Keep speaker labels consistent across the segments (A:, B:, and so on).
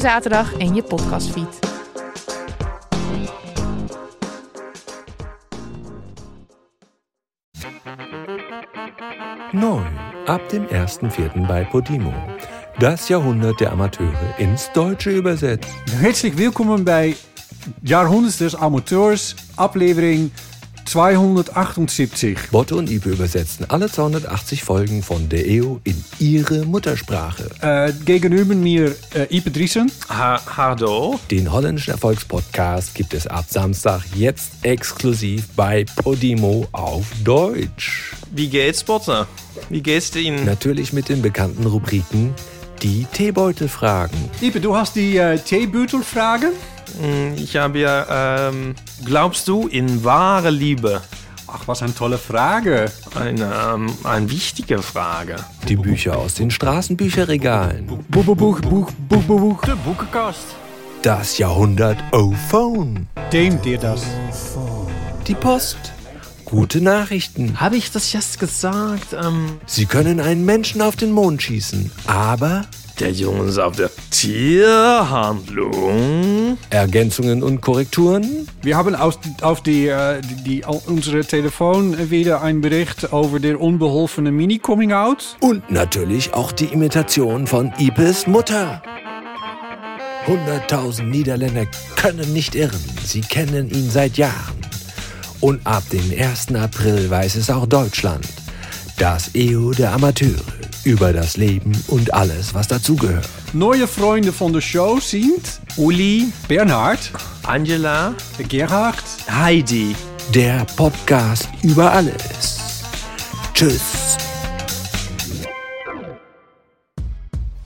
A: zaterdag in je podcastfeed.
B: Neu ab dem 1.4. bei Podimo. Das Jahrhundert der Amateure ins Deutsche übersetzt.
C: Herzlich willkommen bij Jahrhunderts des Amateurs, aflevering 278.
B: Botte und Ipe übersetzen alle 280 Folgen von der EO in ihre Muttersprache.
C: Äh, gegenüber mir äh, Ipe Driesen.
D: Ha Hardo.
B: Den holländischen Erfolgspodcast gibt es ab Samstag jetzt exklusiv bei Podimo auf Deutsch.
D: Wie geht's, Botte? Wie geht's dir Ihnen?
B: Natürlich mit den bekannten Rubriken die Teebeutelfragen.
C: Ipe, du hast die äh, Teebeutelfrage.
D: Ich habe ja, ähm, glaubst du in wahre Liebe?
C: Ach, was eine tolle Frage.
D: Eine, ähm, eine wichtige Frage.
B: Die Bücher aus den Straßenbücherregalen.
C: Boek, boek, boek, boek, boek, boek, boek.
D: Die Buchekast.
B: Das Jahrhundert oh, O-Phone.
C: Deemt dir das?
B: Die Post. Gute Nachrichten.
D: Habe ich das jetzt gesagt? Ähm,
B: Sie können einen Menschen auf den Mond schießen, aber
D: der Junge ist auf der Tierhandlung.
B: Ergänzungen und Korrekturen?
C: Wir haben aus, auf die, äh, die, die, au- unsere Telefon wieder ein Bericht über den unbeholfenen Mini-Coming-out.
B: Und natürlich auch die Imitation von Ipes Mutter. 100.000 Niederländer können nicht irren. Sie kennen ihn seit Jahren. Und ab dem 1. April weiß es auch Deutschland. Das EU der Amateure. Über das Leben und alles, was dazugehört.
C: Neue Freunde von der Show sind
D: Uli,
C: Bernhard,
D: Angela,
C: Gerhard,
D: Heidi.
B: Der Podcast über alles. Tschüss.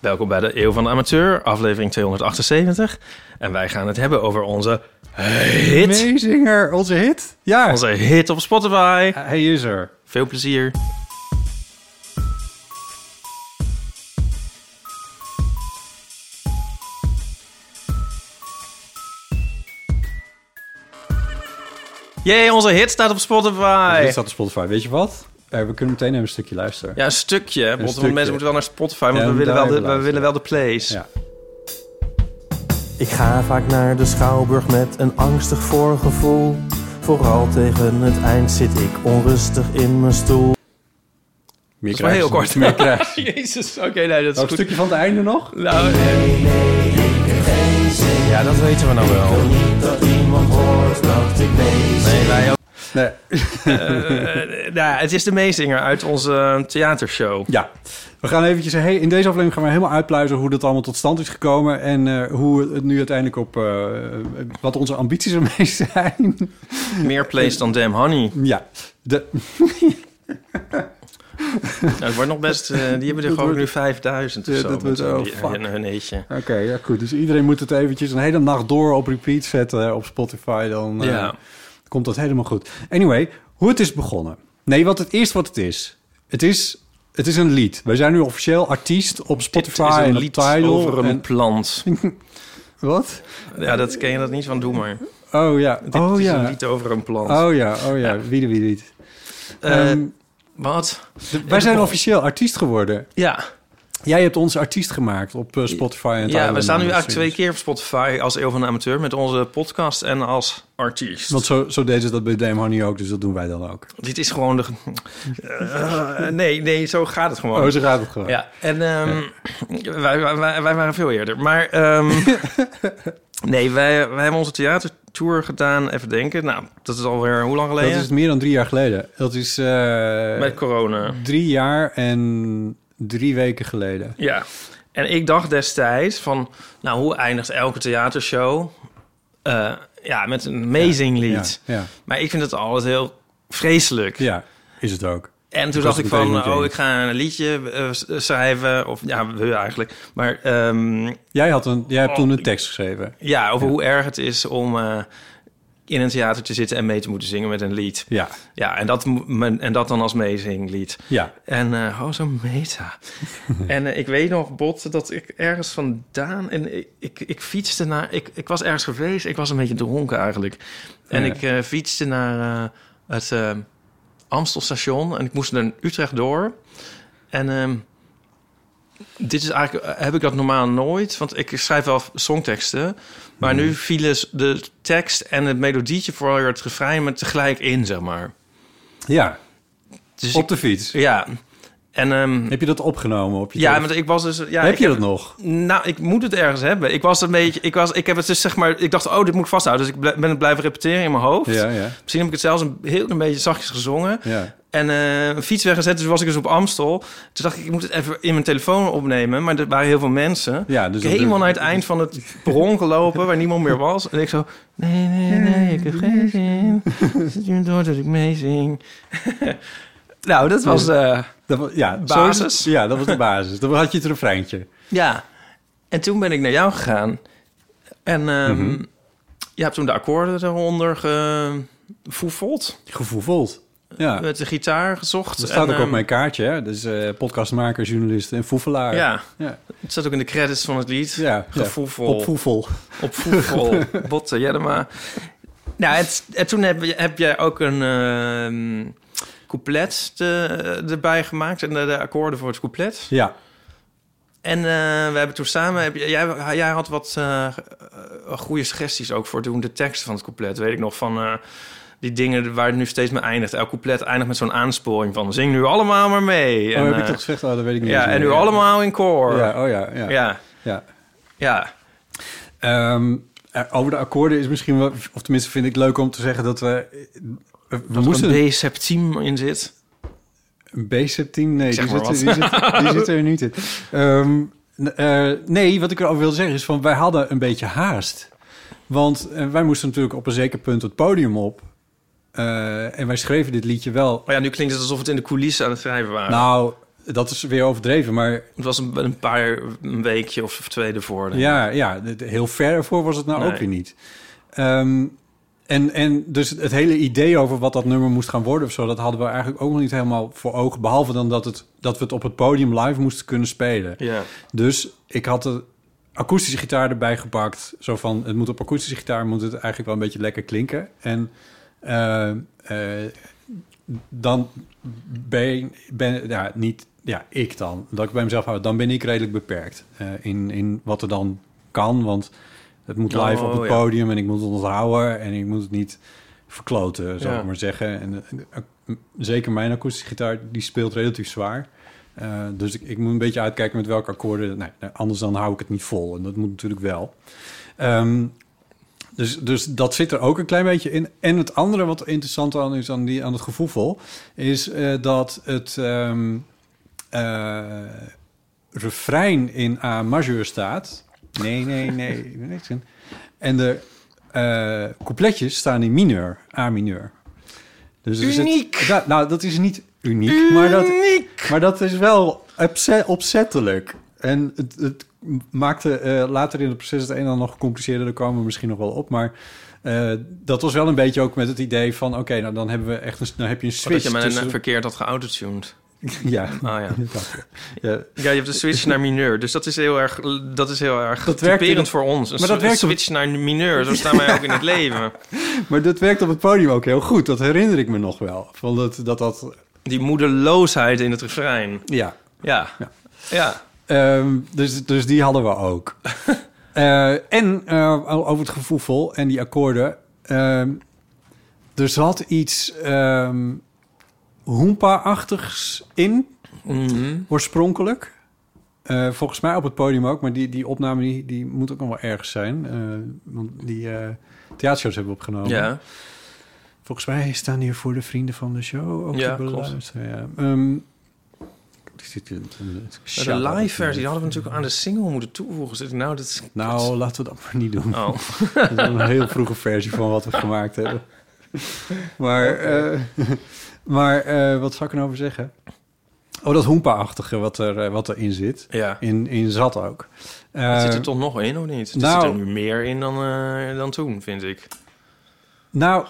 D: Welkom bij de Eeuw van de Amateur, aflevering 278. En wij gaan het hebben over onze hit.
C: Meezinger, onze hit. Ja, Eh,
D: Onze hit op Spotify.
C: hij is er.
D: Veel plezier. Jee, onze hit staat op Spotify.
C: Dit staat op Spotify. Weet je wat? Eh, we kunnen meteen even een stukje luisteren.
D: Ja, een stukje. hè, want
C: stukje.
D: mensen moeten wel naar Spotify, want
C: Ja,
D: we,
C: we
D: willen wel
C: moeten
D: de,
C: daar
D: we
C: even
D: willen wel de plays.
C: Ja.
E: Ik ga vaak naar de Schouwburg met een angstig voorgevoel. Vooral tegen het eind zit ik onrustig in mijn stoel.
C: Meer
D: Dat is maar heel kort.
C: Meer krijg je.
D: Jezus, oké, nee, dat is
C: Oh, een
D: goed.
C: stukje van het einde nog?
D: Nou, eh,
E: Ja, dat weten we nou wel. Ik wil niet dat iemand hoort dat ik bezig
C: Nee.
D: eh, nou, het is de meezinger uit onze eh, theatershow.
C: Ja. We gaan eventjes... Hey, in deze aflevering gaan we helemaal uitpluizen hoe dat allemaal tot stand is gekomen. En eh, hoe het nu uiteindelijk op... eh, wat onze ambities ermee zijn.
D: Meer plays dan Damn Honey.
C: ja. De,
D: Nou, het wordt nog best... eh, die hebben er
C: Dat
D: gewoon
C: wordt-
D: nu 5000 of
C: Ja,
D: zo.
C: dat
D: met
C: wordt-
D: hun-
C: oh,
D: die-
C: fuck.
D: hun- hun eetje.
C: Oké, ja goed. Dus iedereen moet het eventjes een hele nacht door op repeat zetten op Spotify. Dan eh,
D: Ja.
C: komt dat helemaal goed. Anyway, hoe het is begonnen. Nee, wat het eerst wat het is. Het is, het is een lied. Wij zijn nu officieel artiest op Spotify
D: Dit is
C: en
D: een
C: op
D: lied
C: Tidal
D: over een
C: en-
D: plant.
C: wat?
D: Ja, dat ken je dat niet van, doe maar.
C: Oh ja,
D: Dit
C: oh
D: is
C: ja.
D: een lied over een plant.
C: Oh ja, oh ja, wie de wie lied.
D: Eh,
C: Ehm,
D: wat?
C: de- wij zijn officieel artiest geworden.
D: Ja,
C: Jij hebt ons artiest gemaakt op eh, Spotify en Tidal
D: ja we
C: en
D: staan nu
C: dat
D: eigenlijk
C: soort
D: twee keer op Spotify als Eeuw van de Amateur met onze podcast en als artiest.
C: Want zo, zo deden ze dat bij Dame Honey ook, dus dat doen wij dan ook.
D: Dit is gewoon de... Eh, nee, nee, zo gaat het gewoon.
C: Oh, zo gaat het gewoon.
D: Ja, en ehm, Wij, wij, wij wij waren veel eerder. Maar ehm, Nee, wij, wij hebben onze theatertour gedaan. Even denken. Nou, dat is alweer hoe lang
C: Dat
D: geleden?
C: is meer dan drie jaar geleden. Dat is eh,
D: Met corona.
C: drie jaar en drie weken geleden.
D: Ja. En ik dacht destijds van, nou, hoe eindigt elke theatershow? Eh, ja, met een amazing lied.
C: Ja, ja,
D: Maar ik vind het altijd heel vreselijk.
C: ja, is het ook.
D: En
C: was
D: toen dacht ik
C: het meteen
D: van,
C: niet
D: oh,
C: eens.
D: ik ga een liedje eh, s- schrijven. Of ja, we eigenlijk. Maar ehm,
C: Jij, had een, jij hebt
D: Oh,
C: toen een
D: ik-
C: tekst geschreven.
D: ja, over hoe erg het is om eh, in een theater te zitten en mee te moeten zingen met een lied.
C: Ja,
D: Ja, en dat, mo- men- en dat dan als meezinglied.
C: ja.
D: En eh oh, zo meta. en eh, ik weet nog, Bot, dat ik ergens vandaan... En ik, ik, ik fietste naar... Ik, ik was ergens geweest. Ik was een beetje dronken eigenlijk. En
C: Ja.
D: ik eh, fietste naar eh, het eh, Amstelstation. En ik moest naar Utrecht door. En ehm, dit is eigenlijk... eh, Heb ik dat normaal nooit. Want ik schrijf wel songteksten. Maar
C: Hmm.
D: nu vielen s- de tekst en het melodietje voor het refrein... me tegelijk in, zeg maar.
C: ja.
D: Dus
C: op de fiets.
D: ik- ja. En... ehm,
C: Heb je dat opgenomen op je
D: ja,
C: telefoon?
D: want ik was dus. Ja,
C: heb
D: ik
C: je dat nog?
D: Nou, ik moet het ergens hebben. Ik was een beetje. Ik, was, ik heb het dus zeg maar. Ik dacht, oh, dit moet ik vasthouden. Dus ik bl- ben het blijven repeteren in mijn hoofd.
C: Ja, ja,
D: Misschien heb ik het zelfs een heel klein beetje zachtjes gezongen.
C: ja.
D: En eh, een fiets weggezet. Dus was ik dus op Amstel. Toen dacht ik, ik moet het even in mijn telefoon opnemen. Maar er waren heel veel mensen.
C: ja dus
D: Ik
C: dat-
D: helemaal naar het eind van het perron gelopen waar niemand meer was. En ik zo, nee, nee, nee, ik heb geen zin. Het duurt door dat ik meezing. nou, dat
C: Dus-
D: was... eh,
C: Dat was, ja,
D: Basis.
C: zo is het. ja, dat was de basis. Dan had je het refreintje.
D: Ja, en toen ben ik naar jou gegaan. En ehm,
C: Mhm.
D: je hebt toen de akkoorden eronder gevoefeld.
C: Gevoeveld. Ja,
D: Met de gitaar gezocht.
C: dat staat
D: En,
C: ook op
D: ehm,
C: mijn kaartje. Hè? Dus eh, podcastmaker, journalist en foefelaar.
D: Ja,
C: ja.
D: het staat ook in de credits van het lied.
C: ja.
D: Gevoefel.
C: Op voevel.
D: Op voetbal. Botte Jellema. Nou, en, en toen heb, je- heb jij ook een ehm, couplet te- erbij gemaakt. En de, de akkoorden voor het couplet.
C: Ja, Oh,
D: En eh, we hebben toen samen... Heb, je- jij, jij had wat eh, eh, goede suggesties ook voor toen de tekst van het couplet. Weet ik nog van... eh, die dingen waar het nu steeds mee eindigt. Elk couplet eindigt met zo'n aansporing van... zing nu allemaal maar mee.
C: oh,
D: en,
C: heb ik
D: eh,
C: dat gezegd? Oh, dat weet ik niet.
D: ja,
C: eens
D: en nu
C: meer.
D: allemaal in koor.
C: Ja, oh ja, ja. ja.
D: ja. ja.
C: Ehm, eh, over de akkoorden is misschien wel... Of tenminste vind ik leuk om te zeggen dat we... eh, We moesten
D: Een B-septiem in zit.
C: Een B-septiem? Nee,
D: Ik
C: die
D: zeg
C: zit,
D: maar
C: die, zit, die zit er niet in. Ehm, n- eh, nee, wat ik erover wil zeggen is van... wij hadden een beetje haast. Want eh, wij moesten natuurlijk op een zeker punt het podium op. Eh, en wij schreven dit liedje wel...
D: Maar Oh ja, nu klinkt het alsof het in de coulissen aan het schrijven waren.
C: Nou, dat is weer overdreven, maar
D: het was een, een paar een weekje of twee ervoor. denk ik.
C: Ja, ja, d- d- heel ver ervoor was het nou
D: Nee.
C: ook weer niet. Ehm, en, en dus het hele idee over wat dat nummer moest gaan worden of zo, dat hadden we eigenlijk ook nog niet helemaal voor ogen. Behalve dan dat, het, dat we het op het podium live moesten kunnen spelen.
D: Ja.
C: Dus ik had de akoestische gitaar erbij gepakt. Zo van, het moet op akoestische gitaar, moet het eigenlijk wel een beetje lekker klinken. En eh, eh, dan ben, ben ja, niet, ja, ik dan, dat ik bij mezelf houd, dan ben ik redelijk beperkt eh, in, in wat er dan kan. Want het moet live
D: Oh,
C: op het
D: ja.
C: podium en ik moet het onthouden en ik moet het niet verkloten, zou
D: Ja.
C: ik maar zeggen. En, eh, eh, zeker mijn akoestische gitaar, die speelt relatief zwaar. Eh, dus ik, ik moet een beetje uitkijken met welke akkoorden. Nee, nee, anders dan hou ik het niet vol. En dat moet natuurlijk wel. Ehm, dus, dus dat zit er ook een klein beetje in. En het andere wat interessant aan is aan, die, aan het gevoel is eh, dat het ehm, eh, refrein in A majeur staat. Nee, nee, nee. niks in. En de eh, coupletjes staan in mineur, A mineur. Dus er zit-
D: Uniek!
C: Ja, nou, dat is niet uniek, maar dat maar dat is wel opze- opzettelijk. En het, het maakte eh, later in het proces het een en ander nog gecompliceerder. Daar komen we misschien nog wel op. Maar eh, dat was wel een beetje ook met het idee van... oké, nou dan hebben we echt een, nou heb je een
D: Dat
C: switch
D: je met een eh,
C: tussen...
D: verkeerd had geautotuned.
C: Ja,
D: Ah ja.
C: ja.
D: Ja, je hebt een switch naar mineur. Dus dat is heel erg, dat is heel erg
C: Dat werkt in
D: typerend
C: het-
D: voor ons. Een
C: Maar dat
D: sw-
C: werkt op-
D: switch naar mineur. Zo staan wij ook in het leven.
C: Maar dat werkt op het podium ook heel goed. Dat herinner ik me nog wel. Van dat, dat, dat,
D: Die moedeloosheid in het refrein.
C: ja.
D: Ja.
C: Ja.
D: Ja.
C: Ehm, dus, dus die hadden we ook. Eh, en eh, over het gevoel en die akkoorden. ehm, er zat iets ehm hoempa-achtigs in,
D: Mhm.
C: oorspronkelijk. Eh, Eh, volgens mij op het podium ook, maar die, die opname die, die moet ook nog wel ergens zijn. eh, want die eh, theatershows hebben we opgenomen.
D: Ja,
C: Volgens mij staan hier voor de vrienden van de show ook
D: Ja,
C: te
D: klopt.
C: beluisteren. Ja. Ehm, is dit een- een-
D: Maar
C: een-
D: de live versie die hadden we natuurlijk aan de single moeten toevoegen. Zit ik nou, dat is...
C: Nou, laten we dat maar niet doen.
D: Oh,
C: Dat is een heel vroege versie van wat we gemaakt hebben. Maar, eh, maar eh, wat zou ik er nou over zeggen? Oh, dat hoempa-achtige wat, er, eh, wat erin zit.
D: ja.
C: In, in zat ook. Eh,
D: zit er toch nog in, of niet? Er
C: nou-
D: zit er nu meer in dan, eh, dan toen, vind ik.
C: Nou,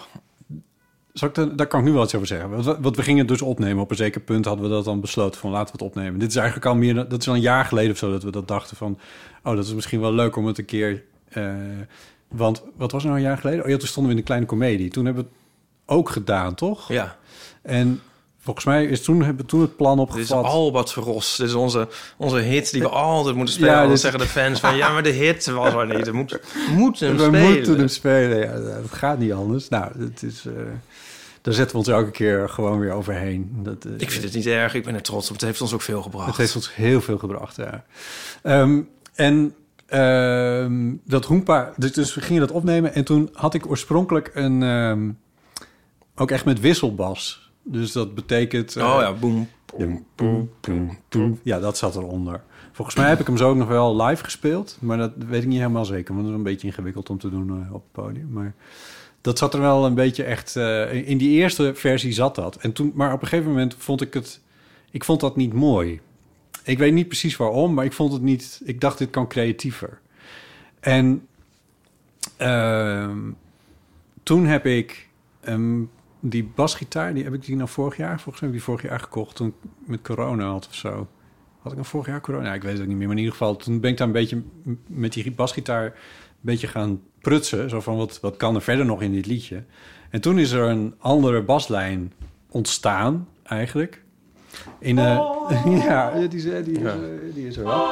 C: zal ik dan- daar kan ik nu wel iets over zeggen. Want we, want we gingen het dus opnemen. Op een zeker punt hadden we dat dan besloten van laten we het opnemen. Dit is eigenlijk al meer, dan- dat is al een jaar geleden of zo dat we dat dachten van... oh, dat is misschien wel leuk om het een keer... eh, want wat was er nou een jaar geleden? Oh ja, toen stonden we in de kleine komedie. Toen hebben we het ook gedaan, toch?
D: Ja,
C: En volgens mij is toen, hebben we toen het plan
D: dit is
C: opgevat.
D: Albat Verros. Dit is onze, onze hit die we altijd moeten spelen.
C: Eh, Ja,
D: dan
C: dit-
D: zeggen de fans van... Ja, maar de hit was er niet. We moeten, moeten hem
C: we
D: spelen.
C: moeten hem spelen. Ja, dat gaat niet anders. Nou, het is, eh, daar zetten we ons elke keer gewoon weer overheen. Dat, eh,
D: Ik vind het niet erg. Ik ben er trots op. Het heeft ons ook veel gebracht.
C: Het heeft ons heel veel gebracht, ja. Ehm, en ehm, dat hoempa, dus, dus we gingen dat opnemen. En toen had ik oorspronkelijk een, ehm, ook echt met wisselbas. Dus dat betekent... eh,
D: Oh ja, boem.
C: boem, boem, boem, boem. Ja, dat zat eronder. Volgens mij heb ik hem zo ook nog wel live gespeeld. Maar dat weet ik niet helemaal zeker. Want het is een beetje ingewikkeld om te doen eh, op het podium. Maar dat zat er wel een beetje echt... eh, in die eerste versie zat dat. En toen, maar op een gegeven moment vond ik het... Ik vond dat niet mooi. Ik weet niet precies waarom, maar ik vond het niet... Ik dacht, dit kan creatiever. En ehm, toen heb ik... ehm, die basgitaar, die heb ik die nou vorig jaar, volgens mij heb ik die vorig jaar gekocht toen ik met corona had of zo. Had ik nou vorig jaar corona? Ja, ik weet het ook niet meer, maar in ieder geval toen ben ik daar een beetje m- met die basgitaar een beetje gaan prutsen, zo van wat, wat kan er verder nog in dit liedje. En toen is er een andere baslijn ontstaan eigenlijk. In, eh, ja, die, is- die, is,
D: Ja.
C: eh, die is er wel.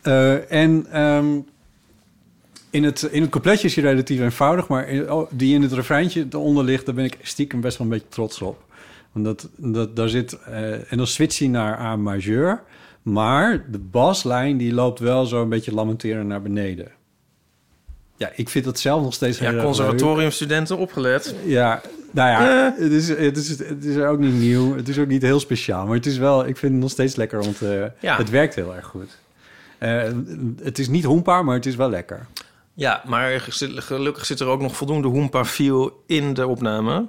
C: Eh, en ehm, in het, in het coupletje is hij relatief eenvoudig, maar in- oh, die in het refreintje eronder ligt, daar ben ik stiekem best wel een beetje trots op. Want dat, dat, daar zit, eh, en dan switcht hij naar A majeur, maar de baslijn die loopt wel zo een beetje lamenterend naar beneden. Ja, ik vind dat zelf nog steeds heel
D: Ja,
C: erg
D: conservatoriumstudenten opgelet.
C: leuk. Ja, nou ja, het, is, het, is, het is ook niet nieuw, het is ook niet heel speciaal, maar het is wel, ik vind het nog steeds lekker, want eh,
D: Ja.
C: het werkt heel erg goed. Eh, het is niet hoenpaar, maar het is wel lekker.
D: Ja, maar gez- gelukkig zit er ook nog voldoende hoempa-viel in de opname.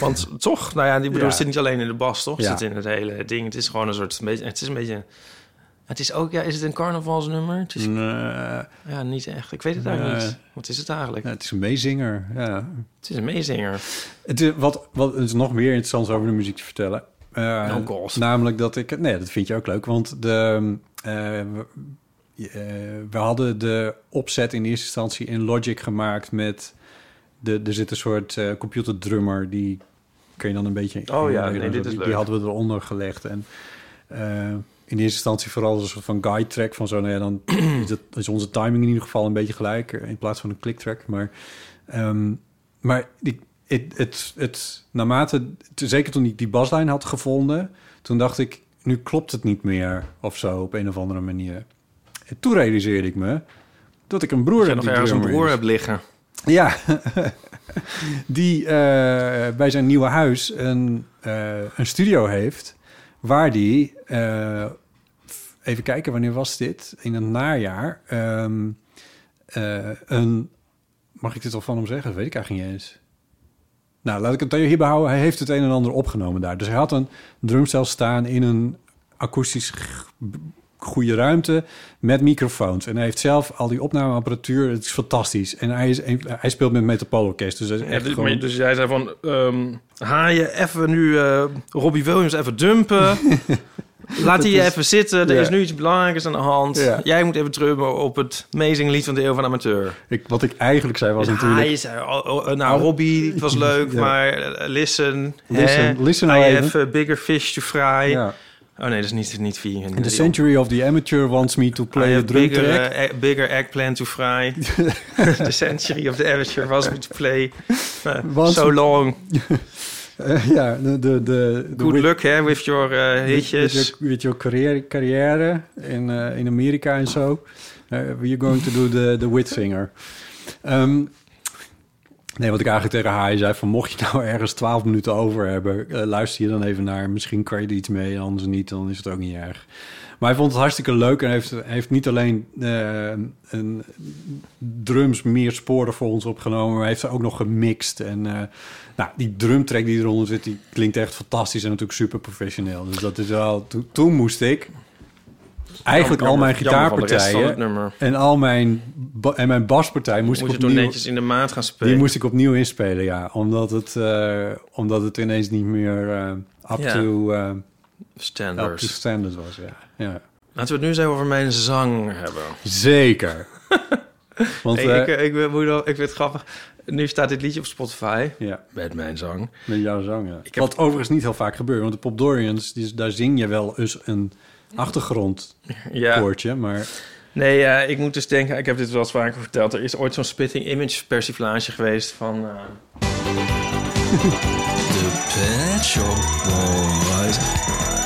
D: Want toch, nou ja, die bedoel,
C: Ja.
D: het zit niet alleen in de bas, toch? Het
C: Ja.
D: zit in het hele ding. Het is gewoon een soort, een beetje, het is een beetje... Het is ook, ja, is het een carnavalsnummer? Het is,
C: Nee,
D: Ja, niet echt. Ik weet het eigenlijk
C: Mm. Nee.
D: niet. Wat is het eigenlijk?
C: ja, eh, het is een meezinger. Ja.
D: Het is een meezinger.
C: Het is, wat, wat het is nog meer interessant over de muziek te vertellen. Eh,
D: Oh, God.
C: Namelijk dat ik... Nee, dat vind je ook leuk. Want de, eh, we, eh, we hadden de opzet in eerste instantie in Logic gemaakt met... De, er zit een soort eh, computerdrummer die kun je dan een beetje...
D: Oh ja,
C: die-
D: nee, dit is
C: die,
D: leuk.
C: die hadden we eronder gelegd. En eh, in eerste instantie vooral als een soort van guide track van zo... Nou ja, dan is, dat, is onze timing in ieder geval een beetje gelijk... eh, in plaats van een click track. Maar... ehm, maar die, het, het, het, naarmate, t- zeker toen ik die baslijn had gevonden, toen dacht ik, nu klopt het niet meer of zo op een of andere manier. En toen realiseerde ik me dat ik een broer
D: Dat je
C: heb.
D: nog
C: die
D: ergens een
C: drummer
D: broer
C: is.
D: hebt liggen.
C: Ja, die eh, bij zijn nieuwe huis een, eh, een studio heeft waar die, eh, f- even kijken wanneer was dit, in het najaar, ehm, eh, een, mag ik dit al van hem zeggen? Dat weet ik eigenlijk niet eens. Nou, laat ik het hierbij houden. Hij heeft het een en ander opgenomen daar. Dus hij had een drumstel staan in een akoestisch g- goede ruimte met microfoons. En hij heeft zelf al die opnameapparatuur. Het is fantastisch. En hij, is een- hij speelt met Metropool Orkest. Dus, hij is
D: Ja,
C: echt
D: dus,
C: gewoon-
D: maar- dus jij zei van, ehm haaien even nu eh, Robbie Williams even dumpen. Laat die
C: is-
D: even zitten. Er
C: ja.
D: is nu iets belangrijkers aan de hand.
C: Ja.
D: Jij moet even drummen op het amazing lied van de eeuw van de amateur.
C: ik, wat ik eigenlijk zei was
D: Dus
C: natuurlijk...
D: haaien zei, oh, oh, eh, nou Robbie, het was leuk,
C: Ja.
D: maar eh, listen.
C: Listen, listen nou
D: I
C: even.
D: have a bigger fish to fry.
C: Ja.
D: Oh nee, dat is niet, niet vier.
C: The Century of the Amateur wants me to play a drum
D: bigger,
C: track.
D: eh, egg- bigger eggplant to fry. the century of the amateur was me to play eh,
C: Was-
D: so long.
C: Eh, ja, de... de, de de-
D: Good luck, hè, with your eh,
C: Weet je,
D: hitjes.
C: je, weet je carrière, carrière in, eh, in Amerika en zo. Eh, you're going to do the, the Whitsinger. Ehm nee, wat ik eigenlijk tegen haar zei... van mocht je nou ergens 12 minuten over hebben... eh, luister je dan even naar. Misschien kan je er iets mee, anders niet. Dan is het ook niet erg. Maar hij vond het hartstikke leuk en heeft, heeft niet alleen eh, een drums meer sporen voor ons opgenomen, maar hij heeft ze ook nog gemixt. En eh, nou, die drumtrack die eronder zit, die klinkt echt fantastisch en natuurlijk super professioneel. Dus dat is wel. to- toen moest ik eigenlijk al mijn
D: Jammer van de rest van het
C: gitaarpartijen
D: nummer.
C: en al mijn ba- en mijn baspartij moest
D: Moet
C: ik
D: je toen
C: opnieuw,
D: netjes in de maat gaan spelen.
C: die moest ik opnieuw inspelen, ja, omdat het eh, omdat het ineens niet meer eh, up,
D: Ja.
C: to, eh, up to
D: Standards.
C: standard was, ja. ja.
D: Laten we het nu eens even over mijn zang hebben.
C: Zeker. Want
D: Hey,
C: eh,
D: ik, ik, wil- moet je wel- ik vind het grappig. Nu staat dit liedje op Spotify.
C: ja,
D: Met mijn zang.
C: met jouw zang. ja.
D: Ik heb-
C: Wat overigens niet heel vaak gebeurt, want de Pop Dorians, die, is- daar zing je wel eens een achtergrondkoortje,
D: Ja.
C: maar
D: Nee, eh, ik moet dus denken, ik heb dit wel eens vaker verteld. Er is ooit zo'n splitting image persiflage geweest van. eh,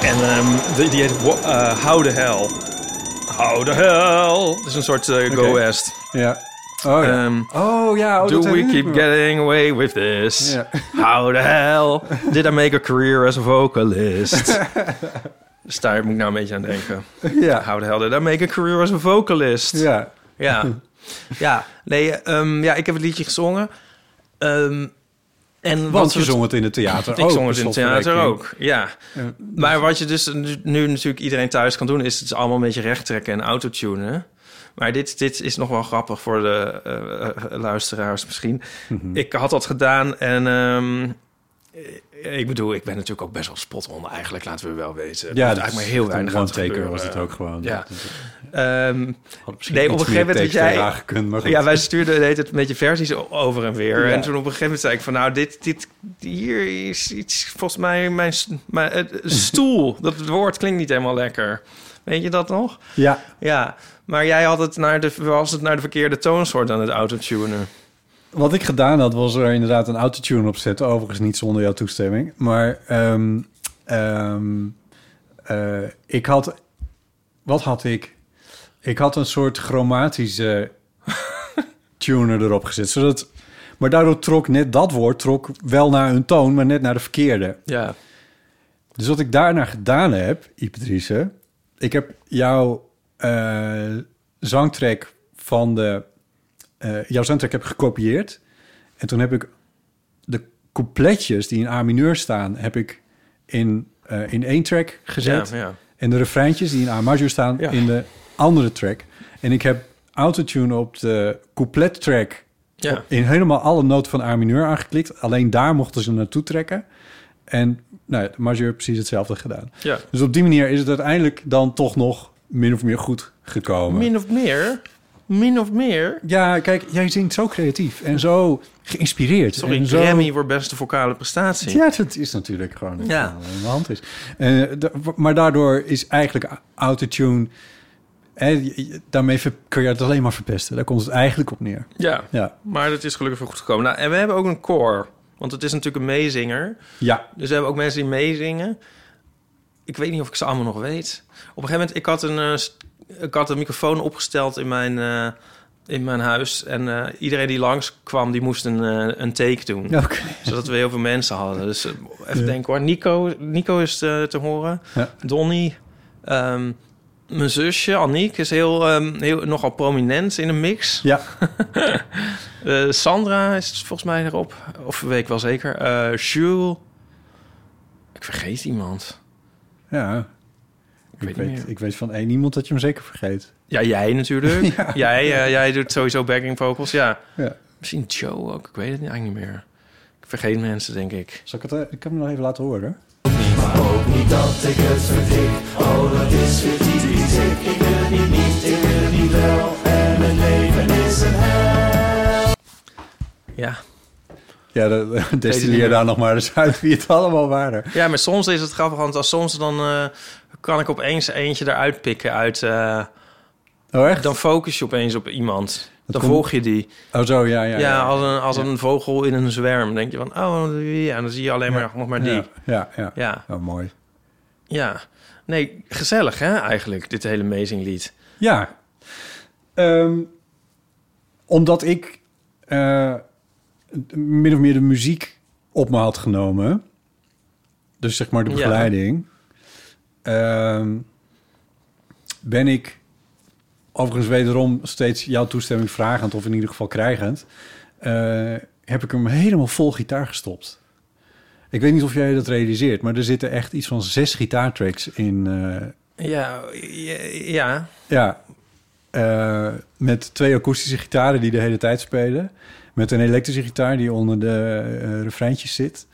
D: En ehm, die, die heet Wo- eh, How the Hell. How the Hell. Dat is een soort eh, Go
C: Oké.
D: West.
C: ja. Oh ja.
D: Ehm,
C: oh ja. Oh,
D: Do
C: dat
D: we
C: herinner ik
D: keep
C: me.
D: getting away with this?
C: Ja.
D: How the hell did I make a career as a vocalist? dus daar moet ik nou een beetje aan denken.
C: Ja.
D: How the hell did I make a career as a vocalist?
C: Ja.
D: Ja, ja. nee, ehm, ja, ik heb het liedje gezongen. Ehm, en
C: Want
D: wat
C: je
D: we-
C: zong het in het theater ook. dus
D: ik zong het in het
C: per
D: theater
C: slotverrekening.
D: ook, ja.
C: Ja.
D: Maar wat je dus nu, nu natuurlijk iedereen thuis kan doen... is het allemaal een beetje recht trekken en autotunen. Maar dit, dit is nog wel grappig voor de eh, eh, luisteraars misschien.
C: Mhm.
D: Ik had dat gedaan en... ehm, eh, ik bedoel, ik ben natuurlijk ook best wel spot-on eigenlijk, laten we wel weten.
C: Ja,
D: dat
C: dat
D: eigenlijk maar
C: is-
D: heel weinig aan
C: One
D: het
C: taker
D: gebeuren.
C: was het ook gewoon.
D: Ja.
C: Dat is-
D: Ehm,
C: had misschien nee, op een gegeven moment
D: dat jij-
C: gekund, maar goed.
D: Ja, wij stuurden deed het een beetje versies o- over en weer.
C: Ja.
D: En toen op een gegeven moment zei ik van... nou, dit, dit hier is iets... volgens mij mijn, s- mijn eh, stoel. dat woord klinkt niet helemaal lekker. Weet je dat nog?
C: ja.
D: Ja, maar jij had het naar de, was het naar de verkeerde toonsoort aan het autotunen.
C: Wat ik gedaan had, was er inderdaad een autotune op zetten. Overigens niet zonder jouw toestemming. Maar ehm, ehm, eh, ik had... Wat had ik? Ik had een soort chromatische tuner erop gezet. Zodat, maar daardoor trok net dat woord trok wel naar een toon, maar net naar de verkeerde.
D: Ja.
C: Dus wat ik daarna gedaan heb, Ipatrice... Ik heb jouw eh, zangtrack van de... eh, jouw zangtrack heb ik gekopieerd. En toen heb ik de coupletjes die in A mineur staan... heb ik in, eh, in één track gezet.
D: Ja, ja.
C: En de refreintjes die in A major staan
D: Ja.
C: in de andere track. En ik heb autotune op de couplet track...
D: Ja.
C: in helemaal alle noten van A mineur aangeklikt. Alleen daar mochten ze naartoe trekken. En nou ja, de majeur precies hetzelfde gedaan.
D: ja.
C: Dus op die manier is het uiteindelijk dan toch nog min of meer goed gekomen.
D: Min of meer... Min of meer...
C: Ja, kijk, jij zingt zo creatief en zo geïnspireerd.
D: Sorry,
C: en zo...
D: Grammy voor beste vocale prestatie.
C: Ja, dat is natuurlijk gewoon
D: Ja.
C: ja. aan de hand is. Eh, da- maar daardoor is eigenlijk autotune... hè, je- je- daarmee ver- kun je het alleen maar verpesten. Daar komt het eigenlijk op neer.
D: Ja.
C: Ja,
D: Maar dat is gelukkig wel goed gekomen. Nou, en we hebben ook een koor. Want het is natuurlijk een meezinger.
C: ja.
D: Dus we hebben ook mensen die meezingen. Ik weet niet of ik ze allemaal nog weet. Op een gegeven moment, ik had een, eh, st- ik had een microfoon opgesteld in mijn, eh, in mijn huis. En eh, iedereen die langs kwam, die moest een, eh, een take doen.
C: Oké.
D: Zodat we heel veel mensen hadden. Dus eh, even denken hoor. Nico, Nico is te, te horen.
C: Ja.
D: Donnie. ehm, mijn zusje, Aniek, is heel, ehm, heel, nogal prominent in de mix.
C: Ja,
D: Eh, Sandra is volgens mij erop. Of weet ik wel zeker. Eh Jules. Ik vergeet iemand.
C: ja.
D: Ik
C: Ik
D: weet niet
C: weet,
D: meer.
C: ik weet van één iemand dat je hem zeker vergeet.
D: Ja, jij natuurlijk.
C: Ja.
D: Jij, eh, jij doet sowieso backing vocals. Ja.
C: Ja.
D: Misschien Joe ook. Ik weet het eigenlijk niet meer. Ik vergeet mensen, denk ik.
C: Zal ik het eh, ik kan hem nog even laten horen?
D: Ja.
C: Ja, de, de,
D: niet meer.
C: destilleer daar nog maar eens uit wie het allemaal waren.
D: ja, maar soms is het grappig. Want als soms dan eh, kan ik opeens eentje eruit pikken. Uit, eh,
C: Oh, echt?
D: dan focus je opeens op iemand. Dan
C: komt-
D: volg je die.
C: Oh zo, ja, ja.
D: Ja, als, een, als een vogel in een zwerm. denk je van, oh ja, en dan zie je alleen maar nog maar die.
C: Ja, ja, ja.
D: Ja,
C: Oh, mooi.
D: ja. Nee, gezellig hè, eigenlijk, dit hele Amazing lied.
C: Ja. Ehm, omdat ik eh, min of meer de muziek op me had genomen. Dus zeg maar de
D: Ja.
C: begeleiding. Ehm, ben ik overigens wederom steeds jouw toestemming vragend... of in ieder geval krijgend... eh, heb ik hem helemaal vol gitaar gestopt. Ik weet niet of jij dat realiseert... maar er zitten echt iets van zes gitaartracks in, eh,
D: Ja, ja, ja.
C: ja, eh, met twee akoestische gitaren die de hele tijd spelen. Met een elektrische gitaar die onder de eh, refreintjes zit.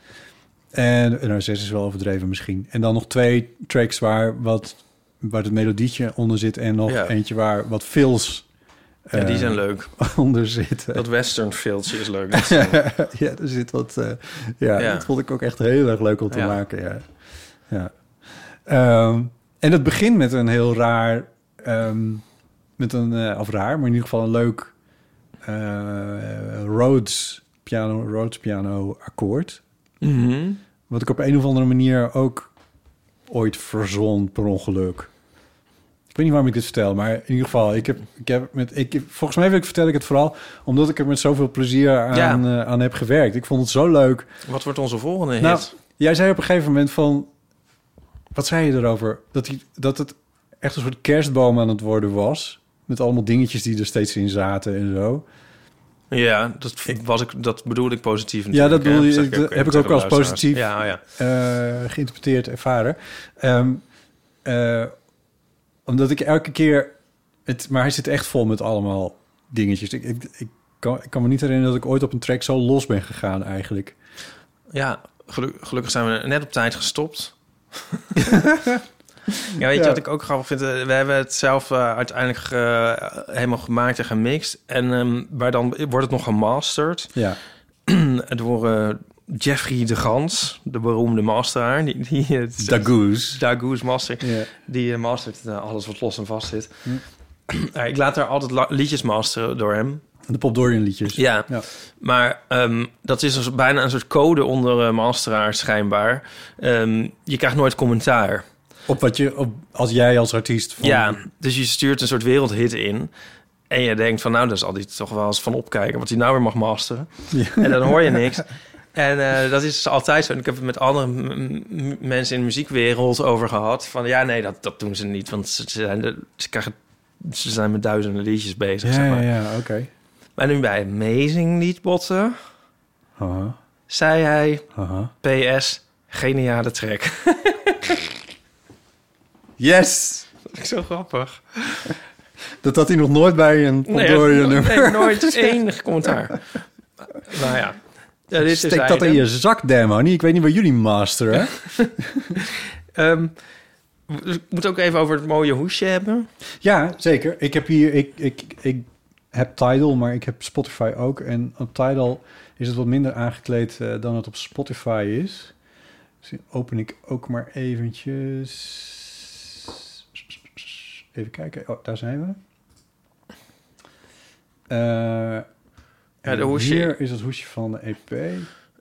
C: En nou, zes is wel overdreven misschien. En dan nog twee tracks waar, wat, waar het melodietje onder zit. En nog
D: Ja.
C: eentje waar wat fills
D: Ja, die
C: eh,
D: zijn leuk.
C: onder zitten.
D: Dat western filtje is leuk. Dat is-
C: ja, er zit wat. eh, ja,
D: Ja.
C: dat vond ik ook echt heel erg leuk om te
D: Ja.
C: maken. Ja. Ja. Ehm, en het begint met een heel raar. ehm, met een, eh, of raar, maar in ieder geval een leuk. eh, Rhodes piano, Rhodes piano akkoord.
D: Mhm.
C: Wat ik op een of andere manier ook ooit verzon per ongeluk. Ik weet niet waarom ik dit vertel, maar in ieder geval, ik heb, ik heb met, ik, volgens mij wil ik, vertel ik het vooral omdat ik er met zoveel plezier aan, eh, aan heb gewerkt. Ik vond het zo leuk.
D: Wat wordt onze volgende hit?
C: Nou, jij zei op een gegeven moment van, wat zei je erover? Dat, die, dat het echt een soort kerstboom aan het worden was. Met allemaal dingetjes die er steeds in zaten en zo.
D: ja, dat, was ik, dat bedoelde ik positief
C: Ja, dat
D: natuurlijk, hè.
C: bedoel je-
D: zeg
C: dat heb ik
D: tegen
C: ook als
D: de luisteraars.
C: positief.
D: Ja, ja.
C: eh, geïnterpreteerd ervaren. Ehm, eh, omdat ik elke keer... Het, maar hij zit echt vol met allemaal dingetjes. Ik, ik, ik, kan, ik kan me niet herinneren dat ik ooit op een track zo los ben gegaan eigenlijk.
D: Ja, gelu- gelukkig zijn we net op tijd gestopt. ja, weet
C: Ja.
D: je wat ik ook grappig vind? Eh, We hebben het zelf eh, uiteindelijk eh, helemaal gemaakt en gemixt. En ehm, maar dan wordt het nog gemasterd
C: Ja,
D: door eh, Jeffrey de Gans, de beroemde masteraar. Die, die, het-
C: Dagoes.
D: Dagoes master.
C: Ja.
D: Die eh, mastert eh, alles wat los en vast zit. Eh, ik laat daar altijd la- liedjes masteren door hem.
C: De Pop Dorian liedjes.
D: Ja,
C: Ja.
D: maar ehm, dat is dus bijna een soort code onder eh, masteraars schijnbaar. Ehm, je krijgt nooit commentaar.
C: Op wat je, op, als jij als artiest... Van,
D: Ja, dus je stuurt een soort wereldhit in. En je denkt van, nou, daar zal die toch wel eens van opkijken... wat hij nou weer mag masteren. En dan hoor je niks. En eh, dat is altijd zo. En ik heb het met andere m- m- mensen in de muziekwereld over gehad. Van, ja, nee, dat, dat doen ze niet. Want ze, zijn, de- ze, krijgen, ze zijn met duizenden liedjes bezig,
C: ja,
D: zeg
C: ja,
D: maar.
C: ja, oké.
D: Maar nu bij Amazing Liedbotten
C: Aha,
D: zei hij...
C: aha.
D: PS, geniale track.
C: Yes!
D: Zo grappig.
C: Dat had hij nog nooit bij een Pop Dorian nummer.
D: nee, nooit enig commentaar. nou ja. ja dit is
C: Steek dat in je zak, demo. Ik weet niet waar jullie masteren.
D: Ehm, we- we moeten ook even over het mooie hoesje hebben.
C: Ja, zeker. Ik heb hier, ik, ik, ik heb Tidal, maar ik heb Spotify ook. En op Tidal is het wat minder aangekleed eh, dan het op Spotify is. Dus die open ik ook maar eventjes. Even kijken. Oh, daar zijn we. Eh,
D: Ja, de
C: en
D: hoesje-
C: Hier is het hoesje van de E EP.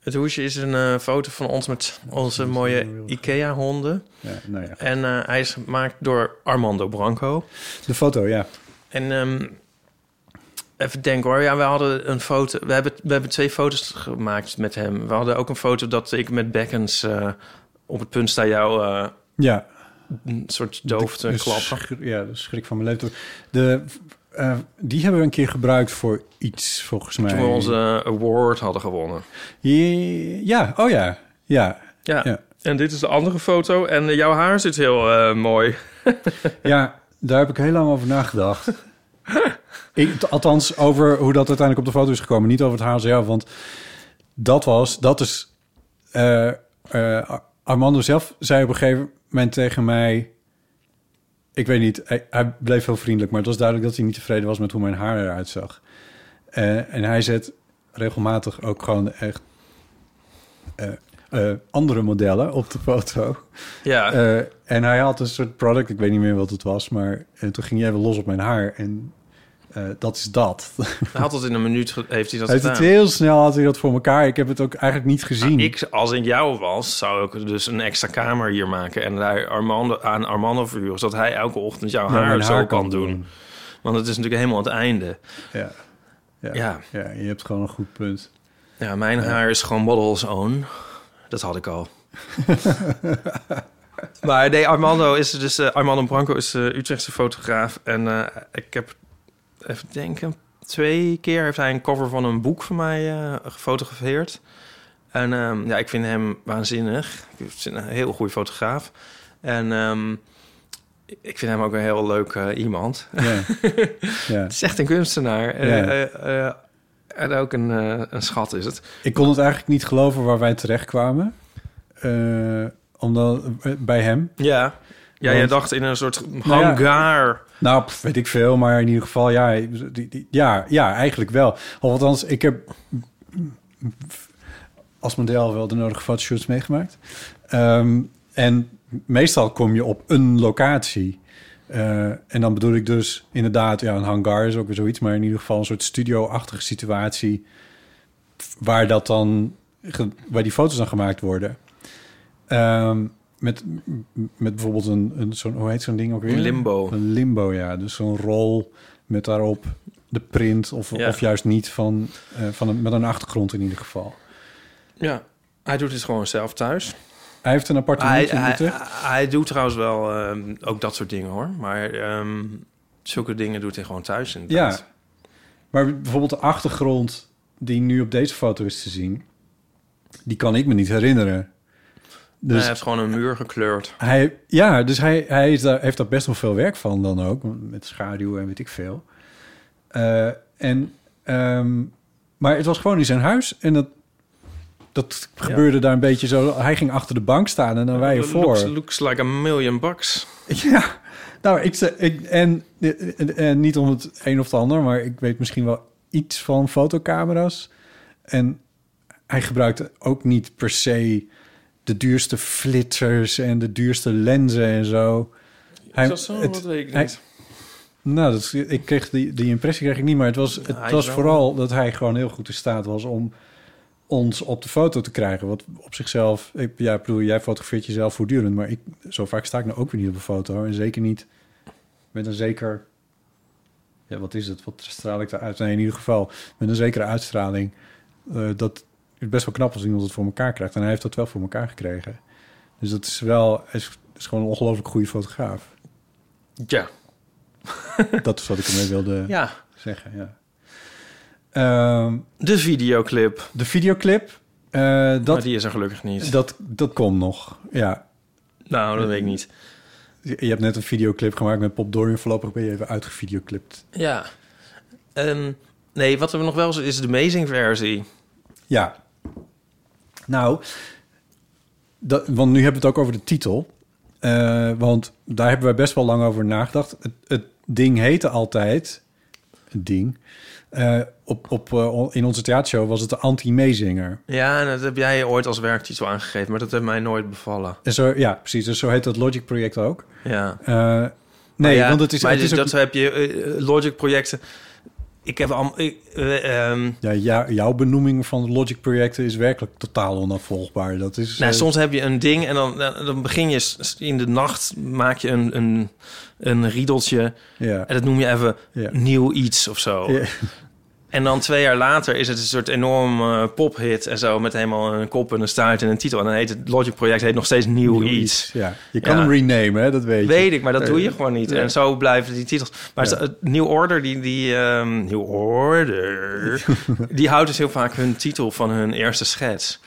D: Het hoesje is een eh, foto van ons met onze mooie IKEA-honden.
C: Ja, nou ja.
D: En eh, hij is gemaakt door Armando Branco.
C: De foto, ja.
D: En ehm, even denken hoor. Ja, we hadden een foto. We hebben, we hebben twee foto's gemaakt met hem. We hadden ook een foto dat ik met Beckens eh, op het punt sta jou eh,
C: Ja,
D: een soort doofte
C: De
D: klappen.
C: schrik- Ja, de schrik van mijn leeftijd. De, eh, die hebben we een keer gebruikt voor iets, volgens mij.
D: Toen we onze award hadden gewonnen.
C: Je- Ja, oh ja. Ja,
D: Ja.
C: Ja.
D: En dit is de andere foto. En eh, jouw haar zit heel eh, mooi.
C: ja daar heb ik heel lang over nagedacht. ik, althans, over hoe dat uiteindelijk op de foto is gekomen. Niet over het haar zelf, want dat was... Dat is... eh, eh, Armando zelf zei op een gegeven moment tegen mij... Ik weet niet, hij, hij bleef heel vriendelijk... maar het was duidelijk dat hij niet tevreden was met hoe mijn haar eruit zag. Eh, en hij zet regelmatig ook gewoon echt... eh, eh, andere modellen op de foto.
D: Ja.
C: Eh, en hij had een soort product, ik weet niet meer wat het was, maar eh, toen ging jij wel los op mijn haar. En eh, eh, dat is dat.
D: Hij had dat in een minuut, ge- heeft hij dat
C: Hij heeft het
D: gedaan.
C: heel snel had hij dat voor elkaar. Ik heb het ook eigenlijk niet gezien.
D: Nou, ik, als ik jou was, zou ik dus een extra kamer hier maken. En daar Armando, aan Armando verhuren. Zodat hij elke ochtend jouw
C: Ja,
D: haar
C: mijn
D: zo
C: haar
D: kan doen. Want het is natuurlijk helemaal aan het einde.
C: Ja. Ja.
D: Ja.
C: Ja. je hebt gewoon een goed punt.
D: Ja, mijn haar is gewoon models own. Dat had ik al. maar nee, Armando is dus... eh, Armando Branco is eh Utrechtse fotograaf. En eh, ik heb, even denken... Twee keer heeft hij een cover van een boek van mij eh, gefotografeerd. En ehm, ja, ik vind hem waanzinnig. Ik vind hem een heel goede fotograaf. En ehm, ik vind hem ook een heel leuk eh, iemand.
C: Ja. ja.
D: Het is echt een kunstenaar. Eh,
C: Ja.
D: eh, eh, en ook een, eh, een schat is het.
C: Ik kon het eigenlijk niet geloven waar wij terecht kwamen. omdat, eh, bij hem.
D: Ja. Ja,
C: Want-
D: jij dacht in een soort
C: ja.
D: hangar.
C: Nou, pff, weet ik veel, maar in ieder geval, ja, die, die- ja, ja eigenlijk wel. Of althans, ik heb als model wel de nodige fotoshoots meegemaakt. Ehm, en meestal kom je op een locatie. Eh, en dan bedoel ik dus inderdaad, ja, een hangar is ook weer zoiets, maar in ieder geval een soort studio-achtige situatie waar dat dan, ge- waar die foto's dan gemaakt worden. Ehm, met, met bijvoorbeeld een, een zo'n, hoe heet zo'n ding ook weer?
D: Een limbo.
C: Een limbo, ja. Dus zo'n rol met daarop de print of,
D: Ja.
C: of juist niet van, eh, van een, met een achtergrond in ieder geval.
D: Ja, hij doet het gewoon zelf thuis.
C: Hij heeft een
D: Ah, Hij,
C: appartement in
D: hij,
C: Utrecht.
D: hij doet trouwens wel ehm, ook dat soort dingen hoor. Maar ehm, zulke dingen doet hij gewoon thuis
C: ja.
D: inderdaad.
C: Maar bijvoorbeeld de achtergrond die nu op deze foto is te zien, die kan ik me niet herinneren. Dus
D: Hij heeft gewoon een muur gekleurd.
C: hij, ja, dus hij, hij is daar, heeft daar best wel veel werk van dan ook, met schaduw en weet ik veel. Eh, en, ehm, maar het was gewoon in zijn huis en dat, dat gebeurde daar een beetje zo. Hij ging achter de bank staan en dan wij ervoor.
D: Looks, looks like a million bucks.
C: Ja, nou, ik, ze- ik en, en, en niet om het een of het ander, maar ik weet misschien wel iets van fotocamera's. En hij gebruikte ook niet per se de duurste flitsers en de duurste lenzen en zo. Hij,
D: is dat zo?
C: het-
D: dat weet ik
C: hij-
D: niet.
C: nou, dat, is- ik kreeg die, die impressie kreeg ik niet, maar het was, het
D: hij is
C: was
D: wel-
C: vooral dat hij gewoon heel goed in staat was om ons op de foto te krijgen. Wat op zichzelf, ik, ja, ik bedoel, jij fotografeert jezelf voortdurend, maar ik, zo vaak sta ik nou ook weer niet op een foto. En zeker niet met een zeker, ja, wat is het? Wat straal ik daaruit? Nee, in ieder geval met een zekere uitstraling. eh, dat het best wel knap als iemand het voor elkaar krijgt. En hij heeft dat wel voor elkaar gekregen. Dus dat is wel, hij is, is gewoon een ongelooflijk goede fotograaf.
D: Ja.
C: Dat is wat ik ermee wilde
D: ja,
C: zeggen, ja. Ehm,
D: de videoclip.
C: de videoclip, eh,
D: Dat... Maar
C: dat,
D: die is er gelukkig niet.
C: dat, dat komt nog. Ja,
D: Nou, dat weet ik niet.
C: je je hebt net een videoclip gemaakt met Pop Dorian. Voorlopig ben je even uitgevideoclipt.
D: Ja. Ehm, nee, wat we nog wel zo is de Amazing versie.
C: Ja. Nou, dat, want nu hebben we het ook over de titel. Eh, want daar hebben wij best wel lang over nagedacht. Het, het ding heette altijd... Het ding. eh, op, op, eh, in onze theatershow was het de anti-meezinger.
D: Ja, en dat heb jij ooit als werktitel aangegeven, maar dat heeft mij nooit bevallen.
C: En zo, ja, precies. Dus zo heet dat Logic-project ook.
D: Ja.
C: Eh,
D: Maar
C: nee,
D: ja,
C: want het is,
D: maar
C: het is
D: dus
C: ook-
D: dat heb je eh, eh, Logic projecten. Ik heb al. Ik, eh, ehm,
C: ja, ja, jouw benoeming van Logic-projecten is werkelijk totaal onafvolgbaar. Dat is,
D: nou,
C: eh,
D: soms heb je een ding en dan, dan dan begin je s- in de nacht maak je een, een, een riedeltje
C: ja,
D: en dat noem je even
C: ja.
D: nieuw iets of zo.
C: Ja.
D: En dan twee jaar later is het een soort enorme eh, pophit en zo met helemaal een kop en een staart en een titel. En dan heet het Logic project heet nog steeds nieuw,
C: Nieuw
D: iets.
C: Ja. Je kan
D: Ja.
C: hem renamen, hè, dat weet je.
D: Weet ik, maar dat doe je gewoon niet.
C: Ja.
D: En zo blijven die titels. Maar
C: Ja.
D: het New Order, die, die, ehm, New Order, die houdt dus heel vaak hun titel van hun eerste schets.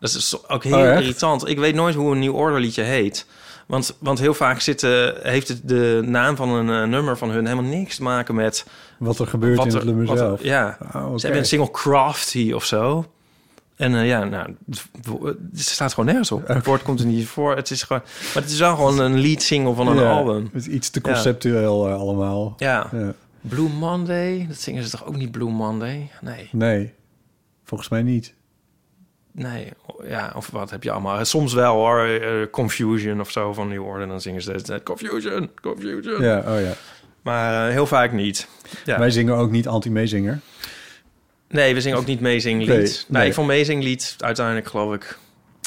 D: Dat is ook heel
C: Oh, echt?
D: irritant. Ik weet nooit hoe een New Order liedje heet. Want, want heel vaak zit, eh, heeft het de naam van een eh, nummer van hun helemaal niks te maken met...
C: Wat er gebeurt in het nummer
D: wat er-
C: zelf.
D: ja.
C: Ah, oké.
D: Ze hebben een single Crafty of zo. En eh, ja, nou, het staat gewoon nergens op. Het woord komt er niet voor. Het is gewoon, maar het is wel gewoon een lead single van een
C: Ja,
D: album.
C: Het is iets te conceptueel eh, allemaal.
D: Ja.
C: Ja.
D: Blue Monday, dat zingen ze toch ook niet Blue Monday? Nee,
C: Nee, volgens mij niet.
D: nee. Ja, of wat heb je allemaal? Soms wel hoor, eh, Confusion of zo van New Order. Dan zingen ze dat Confusion, Confusion.
C: Ja, oh ja.
D: Maar eh, heel vaak niet. Ja.
C: Wij zingen ook niet anti-meezinger.
D: Nee, we zingen ook niet meezinglied.
C: Nee,
D: Nee,
C: nee.
D: ik vond meezinglied uiteindelijk, geloof ik.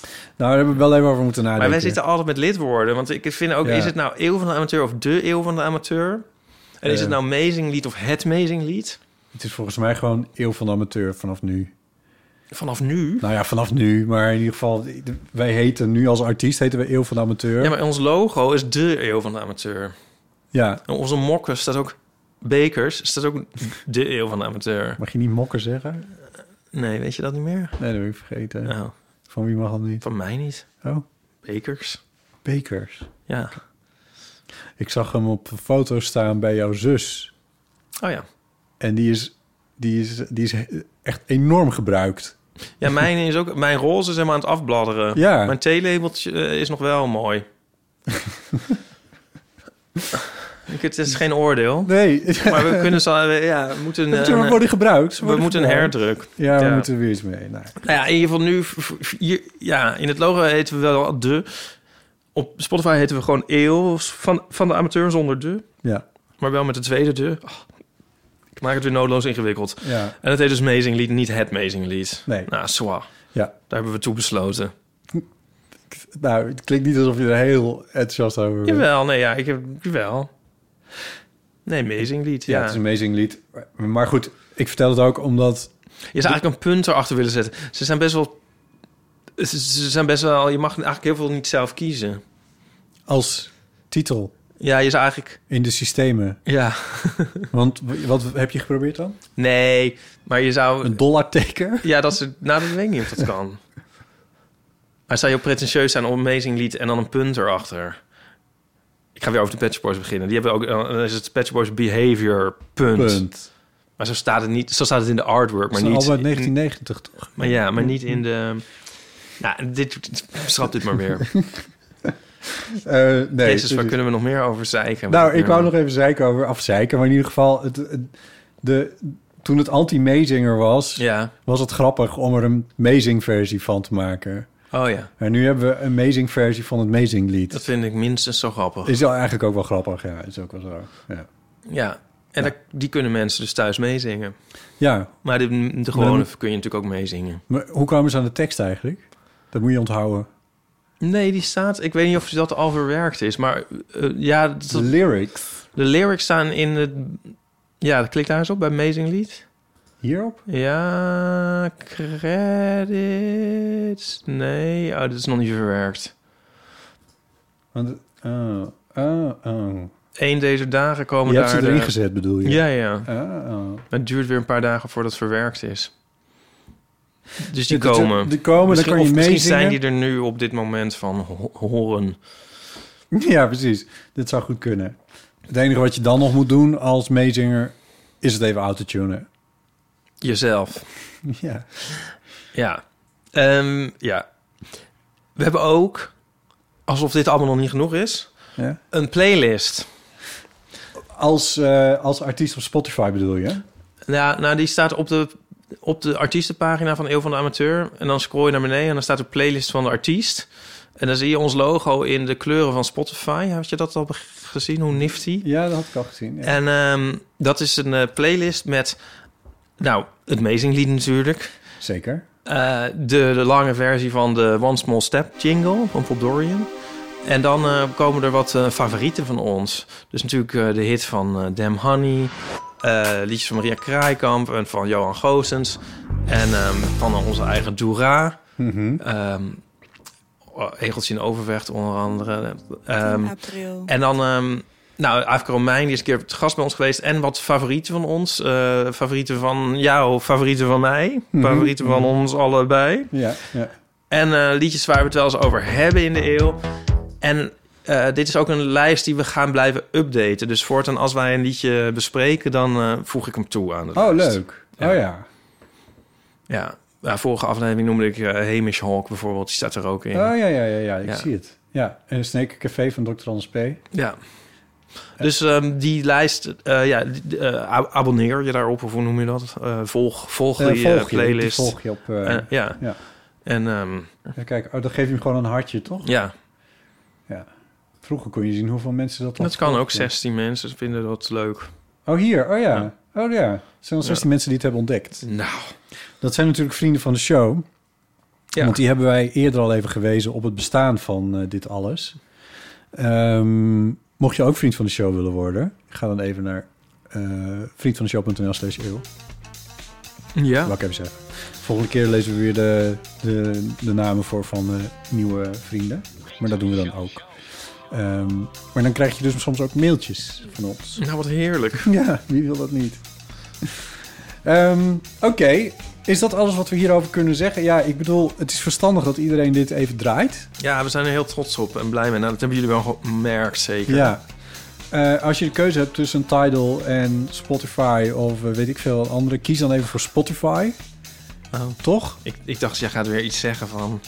C: Nou, daar hebben we wel even over moeten nadenken.
D: maar wij zitten altijd met lidwoorden. Want ik vind ook,
C: Ah, Ja.
D: is het nou eeuw van de amateur of de eeuw van de amateur? En is
C: Eh.
D: het nou meezinglied of het meezinglied?
C: Het is volgens mij gewoon eeuw van de amateur vanaf nu.
D: Vanaf nu?
C: Nou ja, vanaf nu. Maar in ieder geval, wij heten nu als artiest heten we eeuw van de amateur.
D: Ja, maar ons logo is de eeuw van de amateur.
C: ja.
D: En onze mokken staat ook... Bekers staat ook de eeuw van de amateur.
C: Mag je niet mokken zeggen?
D: Nee, weet je dat niet meer?
C: Nee, dat heb ik vergeten.
D: Nou,
C: Van wie mag dat niet?
D: van mij niet.
C: Oh,
D: Bekers.
C: Bekers.
D: Ja.
C: Ik zag hem op foto's staan bij jouw zus.
D: Oh ja.
C: En die is, die is, die is echt enorm gebruikt.
D: Ja, mijn, is ook, mijn roze is helemaal aan het afbladderen.
C: Ja.
D: Mijn theelabeltje eh, is nog wel mooi. Ik, het is geen oordeel.
C: Nee,
D: Maar we kunnen zo, we- ja, we moeten een,
C: ze
D: een-
C: worden gebruikt. Ze
D: we
C: worden
D: moeten een
C: gebruikt.
D: herdruk.
C: Ja, we
D: Ja.
C: moeten weer eens mee. Nou,
D: Nou ja, in ieder geval nu, v- v- hier, ja, in het logo heten we wel de. Op Spotify heten we gewoon eeuw van, van de amateur zonder de.
C: ja,
D: Maar wel met de tweede de. Ah, ik maak het weer noodloos ingewikkeld.
C: ja,
D: En het heet dus Amazing Lied, niet het Amazing Lied.
C: nee.
D: Nou, zwaar.
C: Ja.
D: Daar hebben we toe besloten.
C: Nou, het klinkt niet alsof je er heel enthousiast over bent.
D: Jawel, nee, ja, ik heb wel. Nee, Amazing Lied.
C: Ja,
D: Ja,
C: het is een amazing lied. Maar goed, ik vertel het ook omdat...
D: Je zou eigenlijk een punt erachter willen zetten. Ze zijn best wel. Ze ze zijn best wel. Je mag eigenlijk heel veel niet zelf kiezen.
C: Als titel
D: Ja, je zou eigenlijk.
C: in de systemen.
D: Ja.
C: Want w- wat heb je geprobeerd dan?
D: Nee, maar je zou.
C: Een dollarteken?
D: Ja, dat ze. Nou, dat weet ik niet of dat kan. Maar zou je ook pretentieus zijn om Amazing Lied en dan een punt erachter? Ik ga weer over de Patch Boys beginnen. Die hebben ook. Dan is het Patch Boys Behavior. Punt.
C: Punt.
D: Maar zo staat het niet. Zo staat het in de artwork, maar
C: Maar niet,
D: niet.
C: al uit 1990, toch?
D: Maar ja, maar niet in de. Nou, dit, schrap dit maar weer.
C: Eh, nee,
D: Jezus, waar
C: dit-
D: kunnen we nog meer over zeiken?
C: Nou, ik
D: Ja.
C: wou nog even zeiken over afzeiken. Maar in ieder geval, het, het- de, toen het anti-Mezinger was...
D: Ja.
C: was het grappig om er een Mezing-versie van te maken.
D: Oh ja.
C: En nu hebben we een Mezing-versie van het Mezing-lied.
D: Dat vind ik minstens zo grappig.
C: Is wel eigenlijk ook wel grappig, ja. Is ook wel zo, ja.
D: Ja. En dat- die kunnen mensen dus thuis meezingen.
C: Ja,
D: Maar de, de gewone
C: Hm.
D: kun je natuurlijk ook meezingen.
C: maar hoe kwamen ze aan de tekst eigenlijk? Dat moet je onthouden.
D: Nee, die staat... Ik weet niet of dat al verwerkt is. Maar eh, ja, dat-
C: De lyrics.
D: de lyrics staan in het... Ja, klik daar eens op bij Amazing Lied.
C: Hierop?
D: Ja, credits. Nee, oh, dat is nog niet verwerkt.
C: Want, oh, oh, oh.
D: Eén deze dagen komen
C: Je hebt
D: daar...
C: ze
D: de-
C: erin gezet, bedoel je?
D: Ja, ja.
C: Oh, oh.
D: Het duurt weer een paar dagen voordat het verwerkt is. Dus die
C: Ja, dat-
D: komen.
C: Die komen, dan
D: misschien,
C: kan je
D: of misschien zijn
C: meezingen.
D: die er nu op dit moment van ho- horen.
C: Ja, precies. Dit zou goed kunnen. Het enige wat je dan nog moet doen als meezinger... is het even autotunen.
D: Jezelf.
C: Ja.
D: Ja. Ehm, ja. We hebben ook, alsof dit allemaal nog niet genoeg is,
C: ja.
D: een playlist.
C: Als, eh, als artiest op Spotify bedoel je?
D: Ja, nou, die staat op de, op de artiestenpagina van Eeuw van de Amateur. En dan scroll je naar beneden en dan staat de playlist van de artiest. En dan zie je ons logo in de kleuren van Spotify. Had je dat al be- gezien? Hoe nifty?
C: Ja, dat had ik al gezien. Ja.
D: En ehm, dat is een eh, playlist met, nou, het Mezinglied natuurlijk.
C: Zeker.
D: Eh, de, de lange versie van de One Small Step jingle van Bob Dorian. En dan eh, komen er wat eh, favorieten van ons. Dus natuurlijk eh, de hit van eh, Damn Honey. eh, liedjes van Maria Kraaikamp en van Johan Goossens. En ehm, van onze eigen Doera.
C: Mhm.
D: ehm oh, Egeltje in Overvecht onder andere. Ehm,
F: april.
D: en dan, ehm, nou, Afke Romein, die is een keer te gast bij ons geweest. En wat favorieten van ons. eh, favorieten van jou, favorieten van mij.
C: Mhm.
D: Favorieten van ons allebei.
C: Ja, ja.
D: En eh, liedjes waar we het wel eens over hebben in de eeuw. En eh, dit is ook een lijst die we gaan blijven updaten. Dus voortaan als wij een liedje bespreken, dan eh, voeg ik hem toe aan de
C: Oh,
D: lijst.
C: leuk. Oh ja.
D: Ja. Ja, vorige aflevering noemde ik eh, Hamish Hawk bijvoorbeeld. Die staat er ook in.
C: Oh ja, ja, ja, ja. Ik
D: Ja.
C: zie het. Ja. En Snake Café van Dr. Anders P. Eh,
D: Ja. Dus ehm, die lijst, eh, ja, die- eh, ab- abonneer je daarop, of hoe noem je dat? Eh, volg volg
C: Eh,
D: die eh,
C: volg je,
D: playlist.
C: die volg je op... eh,
D: Eh, ja.
C: ja.
D: En ehm,
C: ja, Kijk, oh, dan geef je hem gewoon een hartje, toch?
D: ja.
C: Ja. Vroeger kon je zien hoeveel mensen dat
D: Dat kan ook
C: volgden.
D: 16 mensen vinden dat leuk.
C: Oh, hier. Oh ja. Oh ja. Het zijn al 16 mensen die het hebben ontdekt.
D: Nou,
C: Dat zijn natuurlijk vrienden van de show.
D: ja.
C: Want die hebben wij eerder al even gewezen op het bestaan van eh, dit alles. Ehm, mocht je ook vriend van de show willen worden, ga dan even naar eh vriendvandeshow.nl slash eeuw.
D: ja.
C: Wou ik even zeggen. Volgende keer lezen we weer de, de, de namen voor van eh, nieuwe vrienden. Maar dat doen we dan ook. Ehm, maar dan krijg je dus soms ook mailtjes van ons.
D: Nou, wat heerlijk.
C: Ja, wie wil dat niet? Ehm, Oké, is dat alles wat we hierover kunnen zeggen? Ja, ik bedoel, het is verstandig dat iedereen dit even draait.
D: Ja, we zijn er heel trots op en blij mee. Nou, dat hebben jullie wel gemerkt, zeker.
C: Ja. Eh, als je de keuze hebt tussen Tidal en Spotify of eh, weet ik veel wat andere, kies dan even voor Spotify,
D: Oh.
C: toch?
D: Ik, ik dacht, jij gaat weer iets zeggen van...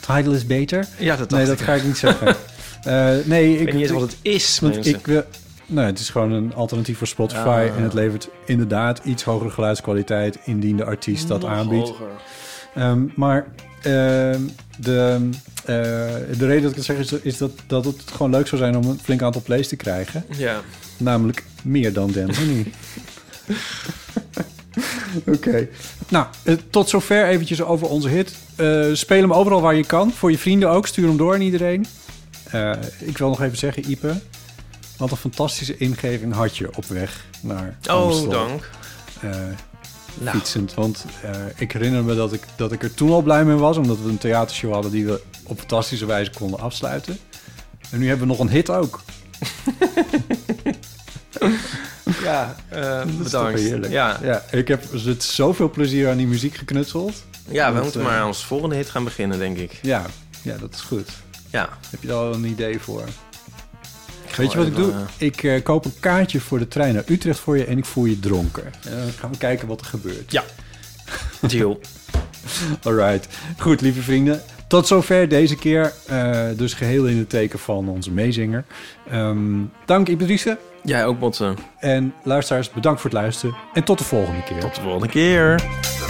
C: Tidal is beter.
D: Ja, dat dacht
C: Nee, dat
D: ik.
C: ga ik niet zeggen. Eh, nee, ik,
D: Ik weet niet eens wat
C: ik,
D: het is,
C: want
D: mensen.
C: ik wil. Nou, het is gewoon een alternatief voor Spotify
D: Ah.
C: en het levert inderdaad iets hogere geluidskwaliteit indien de artiest dat
D: Nog
C: aanbiedt.
D: hoger.
C: Ehm, maar ehm, de, eh, de reden dat ik het zeg is, is dat, dat het gewoon leuk zou zijn om een flink aantal plays te krijgen.
D: Ja.
C: Namelijk meer dan Dan Honey. Oké. Nou, eh, tot zover eventjes over onze hit. Eh, speel hem overal waar je kan. Voor je vrienden ook. Stuur hem door aan iedereen. Eh, ik wil nog even zeggen, Ipe... Wat een fantastische ingeving had je op weg naar Amstel.
D: Oh, dank.
C: eh,
D: Nou.
C: fietsend. Want eh, ik herinner me dat ik, dat ik er toen al blij mee was... omdat we een theatershow hadden die we op fantastische wijze konden afsluiten. En nu hebben we nog een hit ook.
D: Ja, eh,
C: Dat is toch
D: bedankt.
C: heerlijk.
D: Ja,
C: Ja, ik heb zit zoveel plezier aan die muziek geknutseld.
D: ja we
C: Dat,
D: moeten
C: eh,
D: maar aan ons volgende hit gaan beginnen, denk ik.
C: Ja, ja dat is goed.
D: Ja.
C: Heb je daar al een idee voor?
D: ga
C: Weet je
D: wel
C: wat ik
D: even,
C: doe? Ik eh, koop een kaartje voor de trein naar Utrecht voor je en ik voer je dronken. En dan gaan we kijken wat er gebeurt.
D: Ja. eh, Deal.
C: Alright. Goed, lieve vrienden. Tot zover deze keer. Eh, dus geheel in het teken van onze meezinger. Ehm, dank Iberice.
D: Jij ook, Botten.
C: En luisteraars, bedankt voor het luisteren. En tot de volgende keer.
D: Tot de volgende keer.